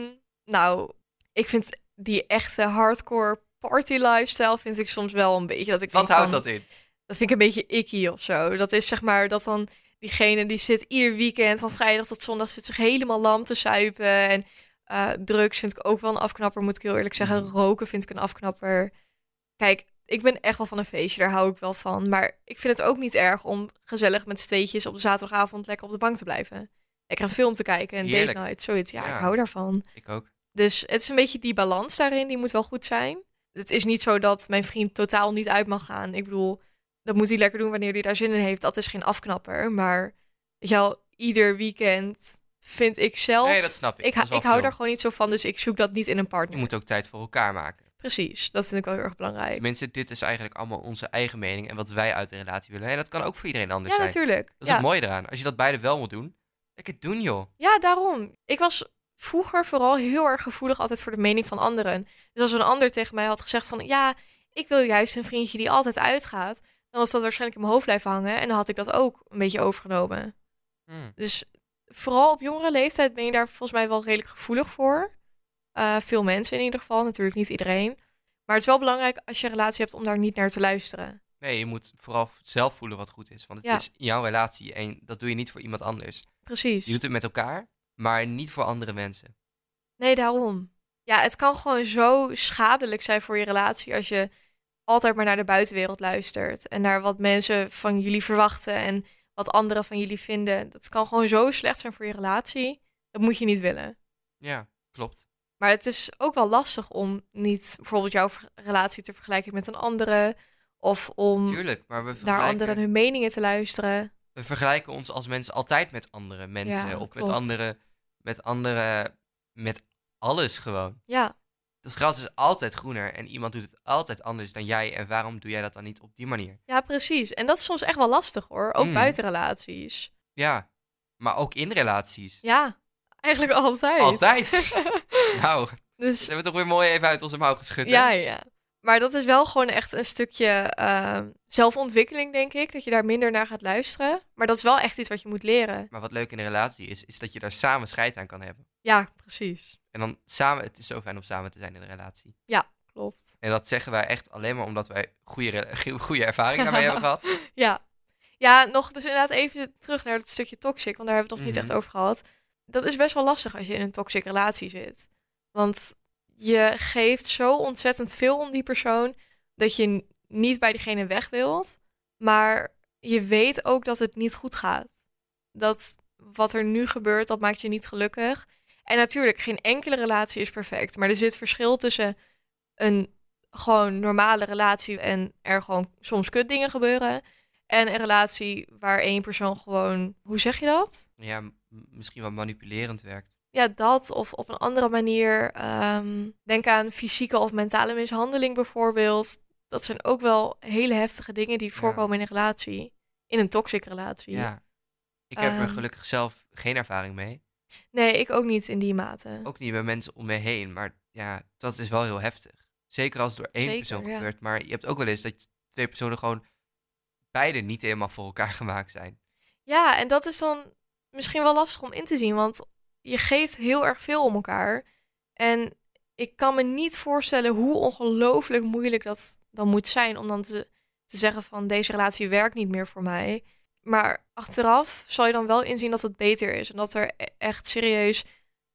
S2: nou, ik vind die echte hardcore party lifestyle vind ik soms wel een beetje dat ik
S1: Wat
S2: denk
S1: houdt
S2: van,
S1: dat in?
S2: dat vind ik een beetje icky of zo. Dat is zeg maar dat dan diegene die zit ieder weekend van vrijdag tot zondag zit zich helemaal lam te zuipen
S1: Mm.
S2: en eh, drugs vind ik ook wel een afknapper moet ik heel eerlijk zeggen. Roken vind ik een afknapper. Kijk, ik ben echt wel van een feestje, daar hou ik wel van. Maar ik vind het ook niet erg om gezellig met z'n tweetjes op de zaterdagavond lekker op de bank te blijven. Lekker een film te kijken en date
S1: Heerlijk.
S2: night, zoiets. Ja,
S1: Ja.
S2: ik hou daarvan.
S1: Ik ook.
S2: Dus het is een beetje die balans daarin, die moet wel goed zijn. Het is niet zo dat mijn vriend totaal niet uit mag gaan. Ik bedoel, dat moet hij lekker doen wanneer hij daar zin in heeft. Dat is geen afknapper. Maar weet je wel, ieder weekend vind ik zelf...
S1: Nee, dat snap ik. Dat
S2: ik, hou-
S1: is wel
S2: ik hou
S1: veel.
S2: daar gewoon niet zo van, dus ik zoek dat niet in een
S1: Je
S2: partner.
S1: moet ook tijd voor elkaar maken.
S2: Precies, dat vind ik wel heel erg belangrijk.
S1: Tenminste, Eh, dit is eigenlijk allemaal onze eigen mening en wat wij uit de relatie willen. En dat kan ook voor iedereen anders
S2: Ja,
S1: zijn.
S2: natuurlijk.
S1: Dat is
S2: ja.
S1: het mooie eraan. Als je dat beide wel moet doen, lekker doen joh.
S2: Ja, daarom. Ik was vroeger vooral heel erg gevoelig altijd voor de mening van anderen. Dus als een ander tegen mij had gezegd van... ja, ik wil juist een vriendje die altijd uitgaat... dan was dat waarschijnlijk in mijn hoofd blijven hangen... en dan had ik dat ook een beetje overgenomen.
S1: Hm.
S2: Dus vooral op jongere leeftijd ben je daar volgens mij wel redelijk gevoelig voor. Eh, veel mensen in ieder geval, natuurlijk niet iedereen. Maar het is wel belangrijk als je een relatie hebt om daar niet naar te luisteren.
S1: Nee, je moet vooral zelf voelen wat goed is. Want het
S2: Ja.
S1: is jouw relatie en dat doe je niet voor iemand anders.
S2: Precies.
S1: Je doet het met elkaar, maar niet voor andere mensen.
S2: Nee, daarom. Ja, het kan gewoon zo schadelijk zijn voor je relatie als je altijd maar naar de buitenwereld luistert en naar wat mensen van jullie verwachten en wat anderen van jullie vinden. Dat kan gewoon zo slecht zijn voor je relatie. Dat moet je niet willen.
S1: Ja, klopt.
S2: Maar het is ook wel lastig om niet bijvoorbeeld jouw ver- relatie te vergelijken met een andere of om
S1: Tuurlijk, maar we
S2: naar
S1: vergelijken,
S2: Mm. anderen hun meningen te luisteren.
S1: we vergelijken ons als mensen altijd met andere mensen.
S2: Ja,
S1: of met
S2: klopt.
S1: andere, met andere, met alles gewoon.
S2: Ja,
S1: Het gras is altijd groener en iemand doet het altijd anders dan jij. En waarom doe jij dat dan niet op die manier?
S2: ja, precies. En dat is soms echt wel lastig hoor, ook
S1: Mm.
S2: buiten relaties.
S1: Ja, maar ook in relaties.
S2: Ja, eigenlijk altijd.
S1: Altijd. nou, dat
S2: dus
S1: hebben we toch weer mooi even uit onze mouw geschud. hè?
S2: Ja, ja. Maar dat is wel gewoon echt een stukje ehm, zelfontwikkeling, denk ik. Dat je daar minder naar gaat luisteren. Maar dat is wel echt iets wat je moet leren.
S1: Maar wat leuk in een relatie is, is dat je daar samen scheid aan kan hebben.
S2: Ja, precies.
S1: En dan samen, het is zo fijn om samen te zijn in een relatie.
S2: Klopt.
S1: En dat zeggen wij echt alleen maar omdat wij goede, re- goede ervaring daarmee hebben gehad.
S2: Ja. Ja, nog dus inderdaad even terug naar dat stukje toxic. Want daar hebben we het nog
S1: Mhm.
S2: niet echt over gehad. Dat is best wel lastig als je in een toxic relatie zit. Want je geeft zo ontzettend veel om die persoon... dat je n- niet bij diegene weg wilt. Maar je weet ook dat het niet goed gaat. dat wat er nu gebeurt, dat maakt je niet gelukkig. En natuurlijk, geen enkele relatie is perfect. Maar er zit verschil tussen een gewoon normale relatie en er gewoon soms kut dingen gebeuren. En een relatie waar één persoon gewoon, hoe zeg je dat?
S1: Ja, m- misschien wel manipulerend werkt.
S2: Ja, dat of op een andere manier. ehm, denk aan fysieke of mentale mishandeling bijvoorbeeld. Dat zijn ook wel hele heftige dingen die voorkomen in een relatie. In een toxic relatie.
S1: Ja. Ik heb er
S2: Ehm.
S1: gelukkig zelf geen ervaring mee.
S2: Nee, ik ook niet in die mate.
S1: Ook niet bij mensen om me heen. Maar ja, dat is wel heel heftig. Zeker als het door één
S2: Zeker,
S1: persoon
S2: ja.
S1: gebeurt. Maar je hebt ook wel eens dat twee personen gewoon beide niet helemaal voor elkaar gemaakt zijn.
S2: Ja, en dat is dan misschien wel lastig om in te zien, want je geeft heel erg veel om elkaar. En ik kan me niet voorstellen hoe ongelooflijk moeilijk dat dan moet zijn om dan te, te zeggen van deze relatie werkt niet meer voor mij. Maar achteraf zal je dan wel inzien dat het beter is en dat er e- echt serieus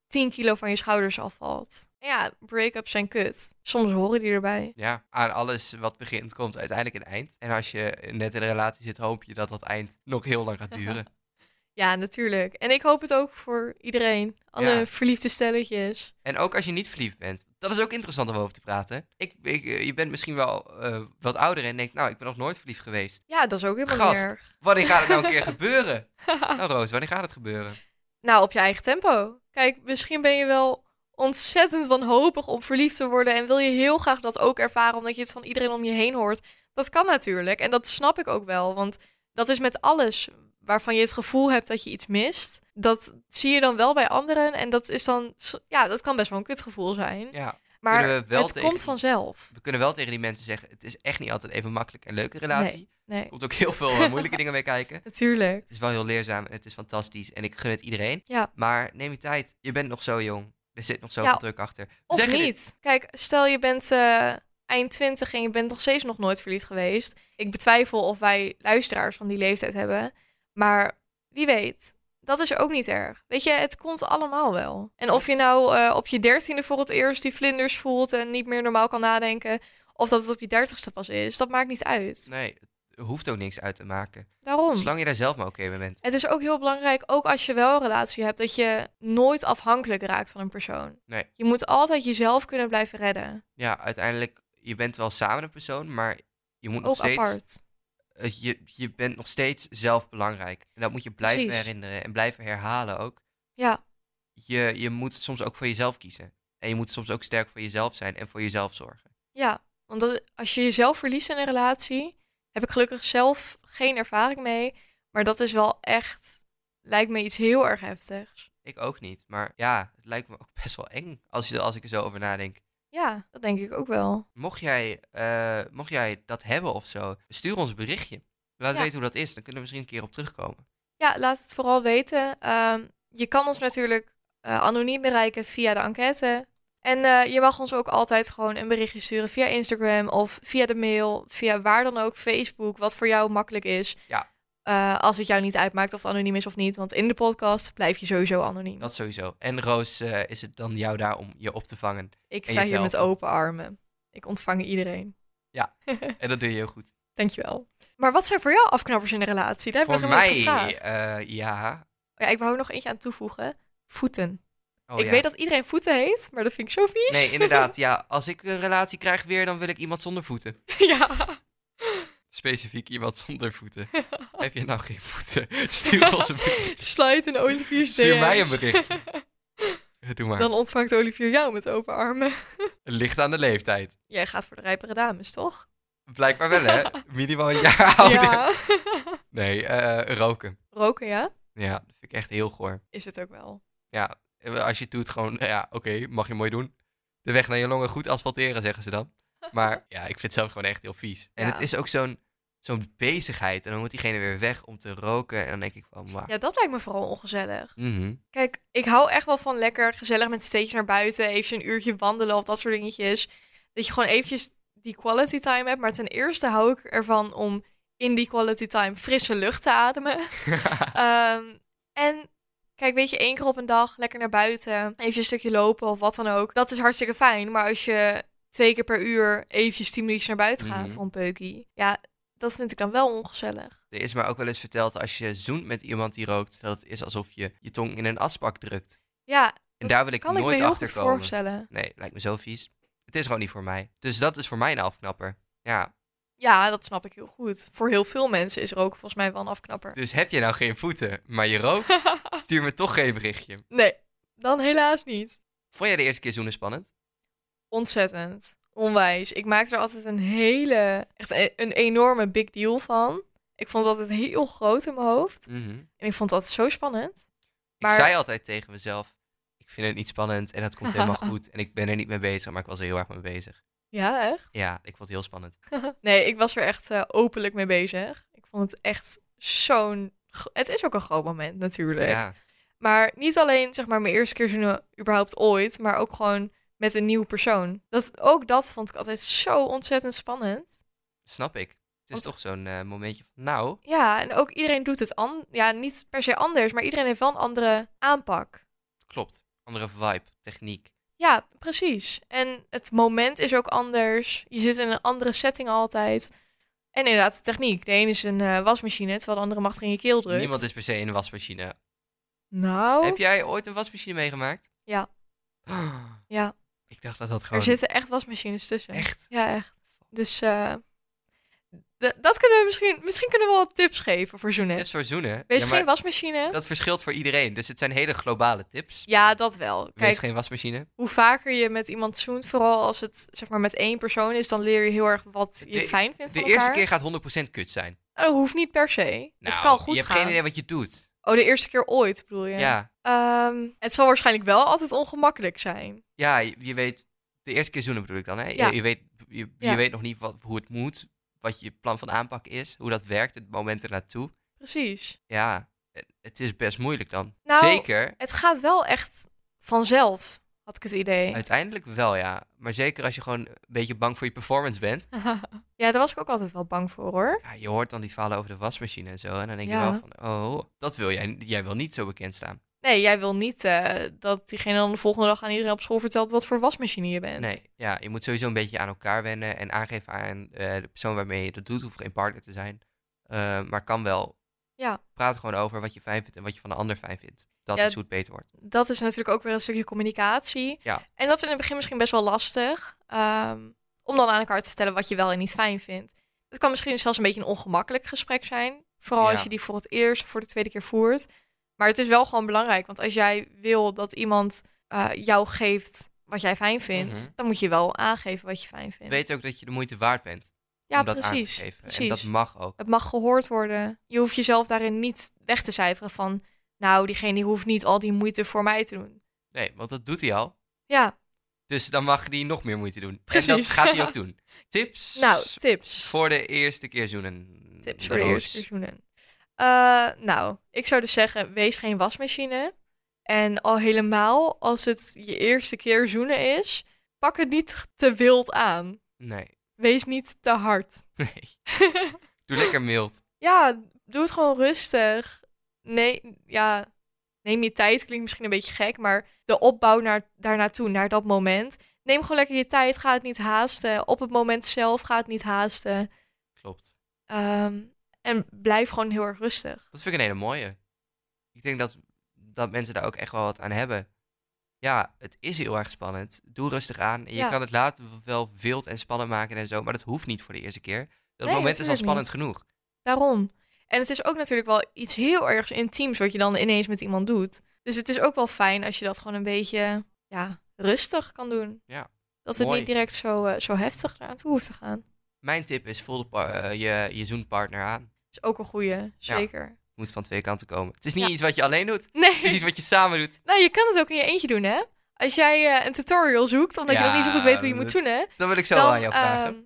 S2: 10 kilo van je schouders afvalt. En ja, break-ups zijn kut. Soms horen die erbij.
S1: Ja, aan alles wat begint komt uiteindelijk een eind. En als je net in een relatie zit, hoop je dat dat eind nog heel lang gaat duren.
S2: Ja, natuurlijk. En ik hoop het ook voor iedereen. Alle
S1: Ja.
S2: verliefde stelletjes.
S1: En ook als je niet verliefd bent. Dat is ook interessant om over te praten. Ik, ik, eh, je bent misschien wel eh, wat ouder en denkt, nou, ik ben nog nooit verliefd geweest.
S2: Ja, dat is ook helemaal
S1: Gast.
S2: niet erg.
S1: Wanneer gaat het nou een keer gebeuren? Nou, Roos, wanneer gaat het gebeuren?
S2: Nou, op je eigen tempo. Kijk, misschien ben je wel ontzettend wanhopig om verliefd te worden en wil je heel graag dat ook ervaren omdat je het van iedereen om je heen hoort. Dat kan natuurlijk en dat snap ik ook wel, want dat is met alles waarvan je het gevoel hebt dat je iets mist. Dat zie je dan wel bij anderen en dat is dan s- ja, dat kan best wel een kutgevoel zijn.
S1: Ja,
S2: Maar
S1: kunnen we wel
S2: het
S1: tegen-
S2: komt vanzelf.
S1: we kunnen wel tegen die mensen zeggen, het is echt niet altijd even makkelijk en leuke relatie.
S2: Nee,
S1: Er komt ook heel veel eh, moeilijke dingen mee kijken.
S2: natuurlijk.
S1: Het is wel heel leerzaam en het is fantastisch en ik gun het iedereen.
S2: Ja.
S1: Maar neem je tijd. Je bent nog zo jong. Er zit nog zoveel
S2: Ja,
S1: druk achter. We
S2: Of
S1: zeggen dit-
S2: niet. Kijk, stel je bent eh, eind 20 en je bent nog steeds nog nooit verliefd geweest. Ik betwijfel of wij luisteraars van die leeftijd hebben. Maar wie weet, dat is ook niet erg. Weet je, het komt allemaal wel. En of je nou eh, op je dertiende voor het eerst die vlinders voelt en niet meer normaal kan nadenken. Of dat het op je dertigste pas is. Dat maakt niet uit.
S1: Nee, het hoeft ook niks uit te maken.
S2: Daarom.
S1: Zolang je daar zelf maar oké mee bent.
S2: Het is ook heel belangrijk, ook als je wel een relatie hebt, dat je nooit afhankelijk raakt van een persoon.
S1: Nee.
S2: Je moet altijd jezelf kunnen blijven redden.
S1: Ja, uiteindelijk, je bent wel samen een persoon, maar je moet nog
S2: ook
S1: steeds...
S2: apart.
S1: eh, Je, je bent nog steeds zelf belangrijk. En dat moet je blijven
S2: Precies.
S1: herinneren en blijven herhalen ook.
S2: Ja,
S1: Je, je moet soms ook voor jezelf kiezen. En je moet soms ook sterk voor jezelf zijn en voor jezelf zorgen.
S2: ja. Want dat, als je jezelf verliest in een relatie, heb ik gelukkig zelf geen ervaring mee. Maar dat is wel echt, lijkt me iets heel erg heftigs.
S1: Ik ook niet. Maar ja, het lijkt me ook best wel eng als, je, als ik er zo over nadenk.
S2: Ja, dat denk ik ook wel.
S1: Mocht jij, eh, mocht jij dat hebben of zo, stuur ons een berichtje. Laat
S2: Ja.
S1: weten hoe dat is. Dan kunnen we misschien een keer op terugkomen.
S2: Ja, laat het vooral weten. Ehm, je kan ons natuurlijk eh, anoniem bereiken via de enquête. En eh, je mag ons ook altijd gewoon een berichtje sturen via Instagram of via de mail, via waar dan ook, Facebook, wat voor jou makkelijk is.
S1: Ja.
S2: Eh, als het jou niet uitmaakt of het anoniem is of niet, want in de podcast blijf je sowieso anoniem.
S1: Dat sowieso. En Roos, eh, is het dan jou daar om je op te vangen?
S2: Ik
S1: en
S2: sta
S1: je
S2: hier met
S1: helpen.
S2: open armen. Ik ontvang iedereen.
S1: En dat doe je heel goed.
S2: Dankjewel. Maar wat zijn voor jou afknappers in een relatie? Daar
S1: voor
S2: heb ik nog nooit
S1: mij,
S2: gevraagd.
S1: eh, ja.
S2: Ja, ik wou er nog eentje aan toevoegen. Voeten.
S1: Oh,
S2: ik
S1: ja.
S2: weet dat iedereen voeten heet, maar dat vind ik zo vies.
S1: Nee, inderdaad. Ja, als ik een relatie krijg weer, dan wil ik iemand zonder voeten.
S2: ja.
S1: Specifiek iemand zonder voeten. Heb je nou geen voeten? Stuur ons een bericht.
S2: Sluit een Olivier's
S1: Stuur mij een
S2: DM's.
S1: berichtje. Doe maar.
S2: Dan ontvangt Olivier jou met open armen.
S1: Het ligt aan de leeftijd.
S2: Jij gaat voor de rijpere dames, toch?
S1: Blijkbaar wel, hè? Minimaal een jaar ouder.
S2: Ja.
S1: Nee, eh, roken.
S2: Roken, ja?
S1: Ja, dat vind ik echt heel goor.
S2: Is het ook wel.
S1: Ja, als je het doet, gewoon, eh, ja, oké, mag je mooi doen. De weg naar je longen goed asfalteren, zeggen ze dan. Maar ja, ik vind het zelf gewoon echt heel vies. En
S2: Ja.
S1: het is ook zo'n zo'n bezigheid. En dan moet diegene weer weg om te roken. En dan denk ik van, maar...
S2: Ja, dat lijkt me vooral ongezellig.
S1: mhm.
S2: Kijk, ik hou echt wel van lekker gezellig met een steentje naar buiten. Even een uurtje wandelen of dat soort dingetjes. Dat je gewoon eventjes die quality time hebt. Maar ten eerste hou ik ervan om in die quality time frisse lucht te ademen. Ehm, en kijk, weet je, één keer op een dag lekker naar buiten. Even een stukje lopen of wat dan ook. Dat is hartstikke fijn. Maar als je twee keer per uur eventjes tien minuutjes naar buiten gaat
S1: Mhm.
S2: voor een peukie. Ja, dat vind ik dan wel ongezellig.
S1: Er is mij ook wel eens verteld, als je zoent met iemand die rookt, dat het is alsof je je tong in een asbak drukt.
S2: Ja,
S1: En
S2: Dat
S1: daar wil ik
S2: kan ik me
S1: nooit
S2: heel goed
S1: achter komen.
S2: voorstellen.
S1: Nee, lijkt me zo vies. Het is gewoon niet voor mij. Dus dat is voor mij een afknapper. Ja,
S2: Ja, dat snap ik heel goed. Voor heel veel mensen is roken volgens mij wel een afknapper.
S1: dus heb je nou geen voeten, maar je rookt, stuur me toch geen berichtje.
S2: nee, dan helaas niet.
S1: Vond jij de eerste keer zoenen spannend?
S2: Ontzettend. Onwijs. Ik maak er altijd een hele, echt een, een enorme big deal van. Ik vond dat het heel groot in mijn hoofd. En ik vond dat zo spannend. Maar-
S1: Ik zei altijd tegen mezelf, ik vind het niet spannend en dat komt helemaal goed. En ik ben er niet mee bezig, maar ik was er heel erg mee bezig.
S2: Ja, echt?
S1: Ja, ik vond het heel spannend.
S2: Nee, ik was er echt eh, openlijk mee bezig. Ik vond het echt zo'n... gro- Het is ook een groot moment natuurlijk.
S1: Ja,
S2: Maar niet alleen zeg maar mijn eerste keer zoenen überhaupt ooit, maar ook gewoon met een nieuwe persoon. Dat, ook dat vond ik altijd zo ontzettend spannend.
S1: snap ik. Het is
S2: Want-
S1: toch zo'n eh, momentje van, nou,
S2: Ja, en ook iedereen doet het an ja, niet per se anders, maar iedereen heeft wel een andere aanpak.
S1: klopt. Andere vibe, techniek.
S2: Ja, precies. En het moment is ook anders. Je zit in een andere setting altijd. En inderdaad, de techniek. De ene is een eh, wasmachine, terwijl de andere mag er in je keel drukt.
S1: Niemand is per se een wasmachine.
S2: Nou,
S1: Heb jij ooit een wasmachine meegemaakt?
S2: Ja. ja.
S1: Ik dacht dat dat
S2: Er
S1: gewoon...
S2: zitten echt wasmachines tussen.
S1: Echt?
S2: Ja, echt. Dus eh, d- dat kunnen we misschien... Misschien kunnen we wel tips geven voor zoenen.
S1: Tips voor zoenen.
S2: Wees
S1: Ja, maar
S2: geen wasmachine.
S1: Dat verschilt voor iedereen, dus het zijn hele globale tips.
S2: Ja, dat wel.
S1: Wees
S2: Kijk,
S1: geen wasmachine.
S2: hoe vaker je met iemand zoent, vooral als het zeg maar met één persoon is, dan leer je heel erg wat je
S1: De-
S2: fijn vindt
S1: De
S2: van
S1: eerste
S2: elkaar.
S1: keer gaat 100% kut zijn.
S2: Nou, dat hoeft niet per se. het
S1: Nou,
S2: kan goed
S1: je hebt
S2: gaan.
S1: geen idee wat je doet.
S2: Oh, de eerste keer ooit bedoel je?
S1: ja.
S2: Ehm, het zal waarschijnlijk wel altijd ongemakkelijk zijn.
S1: Ja, je, je weet, de eerste keer zoenen bedoel ik dan. Hè? Je-
S2: Ja.
S1: Je, weet, je, je
S2: Ja.
S1: weet nog niet wat, hoe het moet, wat je plan van aanpak is, hoe dat werkt, het moment ernaartoe.
S2: Precies.
S1: Ja, het, het is best moeilijk dan.
S2: Nou,
S1: zeker,
S2: Het gaat wel echt vanzelf, had ik het idee.
S1: uiteindelijk wel ja. Maar zeker als je gewoon een beetje bang voor je performance bent.
S2: ja, daar was ik ook altijd wel bang voor hoor.
S1: Ja, je hoort dan die verhalen over de wasmachine en zo. En dan denk
S2: Ja.
S1: je wel van, oh, dat wil jij. Jij wil niet zo bekend staan.
S2: Nee, jij wil niet eh, dat diegene dan de volgende dag aan iedereen op school vertelt wat voor wasmachine je bent.
S1: Nee, ja, je moet sowieso een beetje aan elkaar wennen en aangeven aan eh, de persoon waarmee je dat doet, hoeft geen partner te zijn. Eh, maar kan wel.
S2: Ja.
S1: Praat gewoon over wat je fijn vindt en wat je van de ander fijn vindt. Dat
S2: Ja,
S1: is hoe het beter wordt.
S2: Dat is natuurlijk ook weer een stukje communicatie.
S1: Ja.
S2: En dat is in het begin misschien best wel lastig. ehm, om dan aan elkaar te vertellen wat je wel en niet fijn vindt. Het kan misschien zelfs een beetje een ongemakkelijk gesprek zijn. Vooral
S1: Ja.
S2: als je die voor het eerst of voor de tweede keer voert. Maar het is wel gewoon belangrijk. Want als jij wil dat iemand eh, jou geeft wat jij fijn vindt,
S1: Mhm.
S2: dan moet je wel aangeven wat je fijn vindt.
S1: Weet ook dat je de moeite waard bent
S2: ja,
S1: om dat aan te
S2: precies.
S1: geven. En
S2: precies.
S1: dat mag ook.
S2: Het mag gehoord worden. Je hoeft jezelf daarin niet weg te cijferen van, nou, diegene die hoeft niet al die moeite voor mij te doen.
S1: Nee, want dat doet hij al.
S2: Ja,
S1: Dus dan mag hij nog meer moeite doen. En dat
S2: Precies.
S1: gaat hij ook doen. Tips
S2: nou, tips.
S1: voor de eerste keer zoenen.
S2: tips voor
S1: Roos.
S2: de eerste seizoenen. nou, ik zou dus zeggen, wees geen wasmachine. En al helemaal als het je eerste keer zoenen is, pak het niet te wild aan.
S1: Nee,
S2: Wees niet te hard.
S1: nee. Doe lekker mild.
S2: ja, doe het gewoon rustig. Nee, ja, neem je tijd. Klinkt misschien een beetje gek, maar de opbouw naar, daarnaartoe, naar dat moment. Neem gewoon lekker je tijd. Ga het niet haasten. Op het moment zelf ga het niet haasten.
S1: Klopt.
S2: Ehm, en blijf gewoon heel erg rustig.
S1: Dat vind ik een hele mooie. Ik denk dat, dat mensen daar ook echt wel wat aan hebben. Ja, het is heel erg spannend. Doe rustig aan. En je
S2: Ja.
S1: kan het later wel wild en spannend maken en zo, maar dat hoeft niet voor de eerste keer. Dat
S2: Nee,
S1: moment is al
S2: natuurlijk
S1: spannend genoeg.
S2: Daarom. En het is ook natuurlijk wel iets heel erg intiems wat je dan ineens met iemand doet. Dus het is ook wel fijn als je dat gewoon een beetje ja, rustig kan doen.
S1: Ja,
S2: Dat het
S1: mooi.
S2: niet direct zo, eh, zo heftig eraan toe hoeft te gaan.
S1: Mijn tip is: voel de par- eh, je, je zoenpartner aan.
S2: is ook een goede, zeker.
S1: Moet van twee kanten komen. Het is niet
S2: Ja.
S1: iets wat je alleen doet,
S2: Nee.
S1: het is iets wat je samen doet.
S2: Nou, je kan het ook in je eentje doen, hè? Als jij eh, een tutorial zoekt, omdat je
S1: Ja,
S2: nog niet zo goed weet hoe je moet
S1: dat-
S2: zoenen.
S1: Dat wil ik zo
S2: dan,
S1: aan jou vragen.
S2: ehm,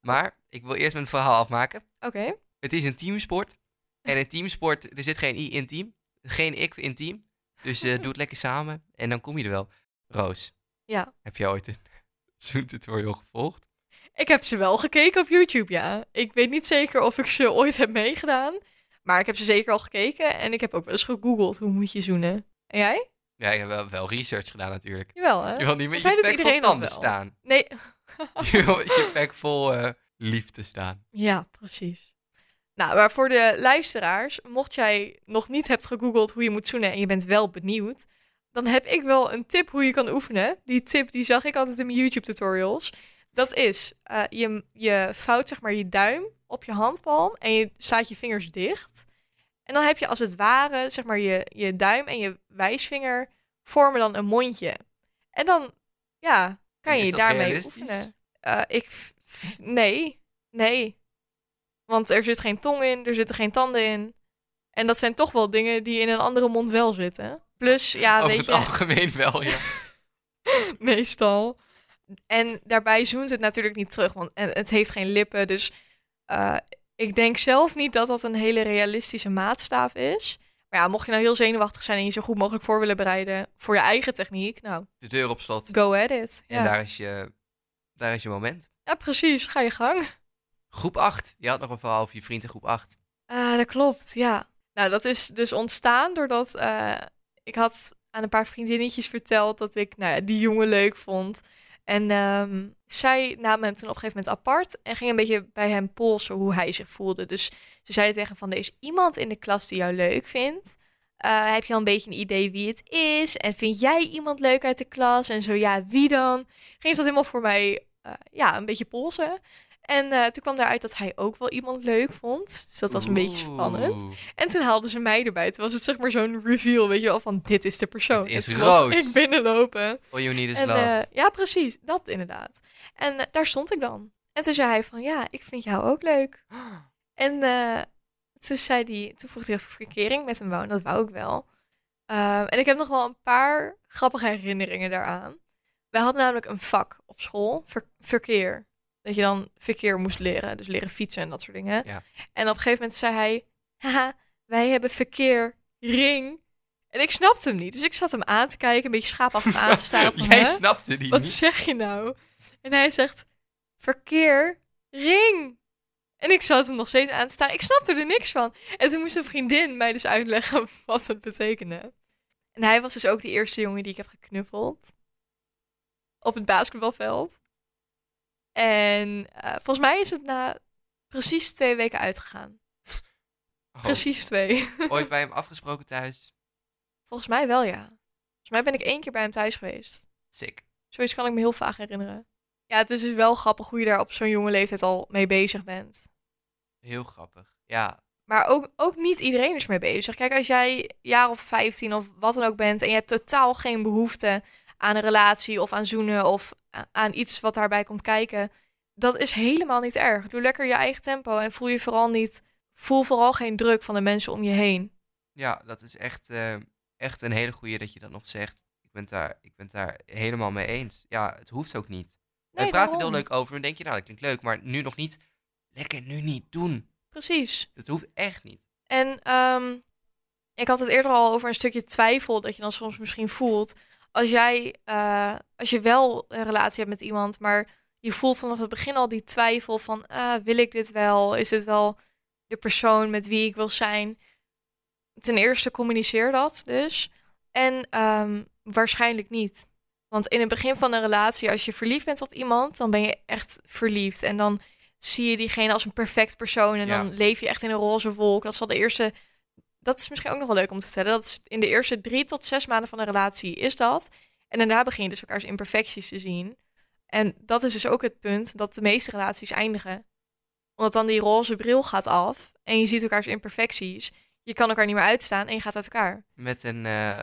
S1: Maar ik wil eerst mijn verhaal afmaken.
S2: Oké,
S1: Het is een teamsport. En een teamsport, er zit geen i in team. Geen ik in team. Dus eh, doe het lekker samen en dan kom je er wel. Roos.
S2: Ja.
S1: Heb jij ooit een Zoom-tutorial gevolgd?
S2: ik heb ze wel gekeken op YouTube, ja. Ik weet niet zeker of ik ze ooit heb meegedaan. Maar ik heb ze zeker al gekeken en ik heb ook wel eens gegoogeld hoe moet je zoenen. En jij?
S1: Ja, ik heb wel, wel research gedaan natuurlijk.
S2: Jawel, hè?
S1: Je wil niet met
S2: Volgens mij
S1: je
S2: doet
S1: bek vol
S2: iedereen
S1: tanden
S2: dat wel.
S1: staan.
S2: Nee,
S1: Je wil met je bek vol eh, liefde staan.
S2: ja, precies. Nou, maar voor de luisteraars, mocht jij nog niet hebt gegoogeld hoe je moet zoenen en je bent wel benieuwd, dan heb ik wel een tip hoe je kan oefenen. Die tip die zag ik altijd in mijn YouTube tutorials. Dat is, eh, je, je vouwt zeg maar je duim op je handpalm en je slaat je vingers dicht. En dan heb je als het ware zeg maar je, je duim en je wijsvinger vormen dan een mondje. En dan, ja, kan je
S1: Is
S2: je
S1: dat
S2: daarmee
S1: realistisch?
S2: oefenen. Eh, ik, f- f- nee, nee. Want er zit geen tong in, er zitten geen tanden in. En dat zijn toch wel dingen die in een andere mond wel zitten. Plus, ja,
S1: Over
S2: Ah, weet
S1: het
S2: je,
S1: algemeen wel, ja.
S2: meestal. En daarbij zoent het natuurlijk niet terug, want en het heeft geen lippen. Dus eh, ik denk zelf niet dat dat een hele realistische maatstaaf is. Maar ja, mocht je nou heel zenuwachtig zijn en je zo goed mogelijk voor willen bereiden voor je eigen techniek, nou,
S1: De deur op slot.
S2: go at it.
S1: En
S2: Ja,
S1: daar is, je, daar is je moment.
S2: ja precies, ga je gang.
S1: Groep 8. Je had nog een verhaal over je vriend in groep 8.
S2: Ah, dat klopt, ja. Nou, dat is dus ontstaan doordat eh, ik had aan een paar vriendinnetjes verteld dat ik nou ja, die jongen leuk vond. En ehm, zij namen hem toen op een gegeven moment apart en ging een beetje bij hem polsen hoe hij zich voelde. Dus ze zeiden tegen hem van, er is iemand in de klas die jou leuk vindt. Eh, heb je al een beetje een idee wie het is? En vind jij iemand leuk uit de klas? En zo, ja, wie dan? Ging ze dat helemaal voor mij, eh, ja, een beetje polsen. En eh, toen kwam daaruit dat hij ook wel iemand leuk vond. Dus dat was een beetje spannend.
S1: Oeh.
S2: En toen haalden ze mij erbij. Toen was het zeg maar zo'n reveal, weet je wel, van dit is de persoon.
S1: Het is
S2: En toen was
S1: Roos.
S2: Ik binnenlopen.
S1: All you need Oh, is
S2: en,
S1: love.
S2: eh, ja, precies. Dat inderdaad. En eh, daar stond ik dan. En toen zei hij van, ja, ik vind jou ook leuk. En eh, toen, zei die, toen vroeg hij of ik verkering met hem wou. En dat wou ik wel. Ehm, en ik heb nog wel een paar grappige herinneringen daaraan. Wij hadden namelijk een vak op school, ver- verkeer. Dat je dan verkeer moest leren. Dus leren fietsen en dat soort dingen.
S1: Ja.
S2: En op een gegeven moment zei hij... Haha, wij hebben verkeer, ring. En ik snapte hem niet. Dus ik zat hem aan te kijken, een beetje schaapachtig aan te staren. Van,
S1: Jij
S2: "Huh?
S1: snapte die
S2: Wat
S1: niet.
S2: zeg je nou? En hij zegt, verkeer, ring. En ik zat hem nog steeds aan te staren. Ik snapte er niks van. En toen moest een vriendin mij dus uitleggen wat het betekende. En En hij was dus ook de eerste jongen die ik heb geknuffeld. Op het basketbalveld. En eh, volgens mij is het na precies twee weken uitgegaan.
S1: Oh,
S2: Precies twee.
S1: Ooit bij hem afgesproken thuis.
S2: Volgens mij wel, ja. Volgens mij ben ik één keer bij hem thuis geweest.
S1: Sick.
S2: Zoiets kan ik me heel vaag herinneren. Ja, het is dus wel grappig hoe je daar op zo'n jonge leeftijd al mee bezig bent.
S1: Heel grappig. Ja,
S2: Maar ook, ook niet iedereen is mee bezig. Kijk, als jij jaar of 15 of wat dan ook bent en je hebt totaal geen behoefte aan een relatie of aan zoenen of a- aan iets wat daarbij komt kijken, dat is helemaal niet erg. Doe lekker je eigen tempo en voel je vooral niet, voel vooral geen druk van de mensen om je heen.
S1: ja dat is echt, eh, echt een hele goeie dat je dat nog zegt. Ik ben, het daar, ik ben het daar helemaal mee eens. Ja, het hoeft ook niet.
S2: Nee,
S1: We praten er heel
S2: daarom.
S1: leuk over. Dan denk je, nou, dat klinkt leuk, maar nu nog niet. Lekker nu niet doen.
S2: Precies.
S1: Dat hoeft echt niet.
S2: En ehm, ik had het eerder al over een stukje twijfel dat je dan soms misschien voelt. Als jij, eh, als je wel een relatie hebt met iemand, maar je voelt vanaf het begin al die twijfel van, ah, wil ik dit wel? Is dit wel de persoon met wie ik wil zijn? Ten eerste communiceer dat dus. En ehm, waarschijnlijk niet. Want in het begin van een relatie, als je verliefd bent op iemand, dan ben je echt verliefd. En dan zie je diegene als een perfect persoon. En
S1: Ja.
S2: dan leef je echt in een roze wolk. Dat is wel de eerste. Dat is misschien ook nog wel leuk om te vertellen. Dat is in de eerste drie tot zes maanden van een relatie is dat. En daarna begin je dus elkaars imperfecties te zien. En dat is dus ook het punt dat de meeste relaties eindigen. Omdat dan die roze bril gaat af en je ziet elkaars imperfecties. Je kan elkaar niet meer uitstaan en je gaat uit elkaar.
S1: Met een eh,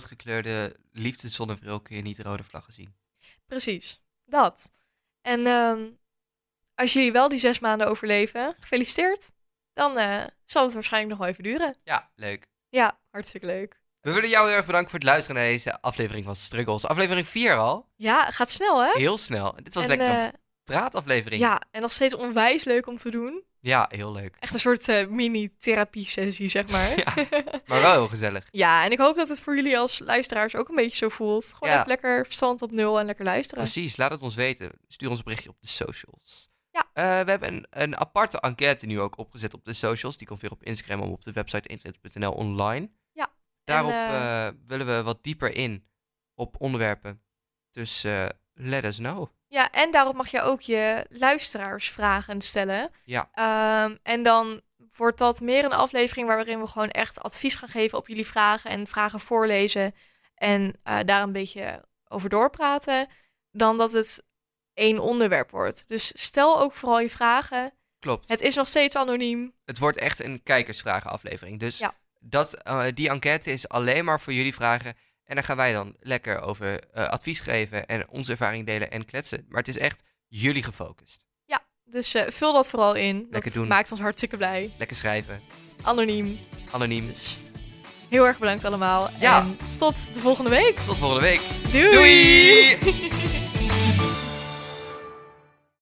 S1: roodgekleurde liefdeszonnebril kun je niet rode vlaggen zien.
S2: Precies, dat. En ehm, als jullie wel die zes maanden overleven, gefeliciteerd. Dan eh, zal het waarschijnlijk nog wel even duren.
S1: Ja, leuk.
S2: Ja, hartstikke leuk.
S1: We willen jou heel erg bedanken voor het luisteren naar deze aflevering van Struggles. Aflevering 4 al.
S2: Ja, gaat snel hè?
S1: Heel snel. Dit was
S2: en,
S1: lekker een
S2: eh,
S1: praataflevering.
S2: ja, en nog steeds onwijs leuk om te doen.
S1: Ja, heel leuk.
S2: Echt een soort eh, mini-therapie-sessie, zeg maar.
S1: Maar wel heel gezellig.
S2: Ja, en ik hoop dat het voor jullie als luisteraars ook een beetje zo voelt. Gewoon
S1: Ja.
S2: even lekker verstand op nul en lekker luisteren.
S1: Precies, laat het ons weten. Stuur ons een berichtje op de socials.
S2: Ja.
S1: Eh, we hebben een, een aparte enquête nu ook opgezet op de socials. Die komt weer op Instagram en op de website internet.nl online.
S2: Ja,
S1: Daarop
S2: en, eh,
S1: eh, willen we wat dieper in op onderwerpen. Dus eh, let us know.
S2: Ja, en daarop mag je ook je luisteraarsvragen stellen.
S1: Ja.
S2: Ehm, en dan wordt dat meer een aflevering waarin we gewoon echt advies gaan geven op jullie vragen en vragen voorlezen en eh, daar een beetje over doorpraten, dan dat het één onderwerp wordt. Dus stel ook vooral je vragen.
S1: Klopt.
S2: Het is nog steeds anoniem.
S1: het wordt echt een kijkersvragenaflevering. Dus
S2: Ja.
S1: dat, eh, die enquête is alleen maar voor jullie vragen. En dan gaan wij dan lekker over eh, advies geven en onze ervaring delen en kletsen. Maar het is echt jullie gefocust.
S2: Dus eh, vul dat vooral in.
S1: Lekker
S2: dat
S1: doen.
S2: maakt ons hartstikke blij.
S1: Lekker schrijven,
S2: Anoniem.
S1: anoniem.
S2: Dus heel erg bedankt allemaal.
S1: Ja.
S2: En tot de volgende week.
S1: Tot volgende week.
S2: Doei!
S1: Doei!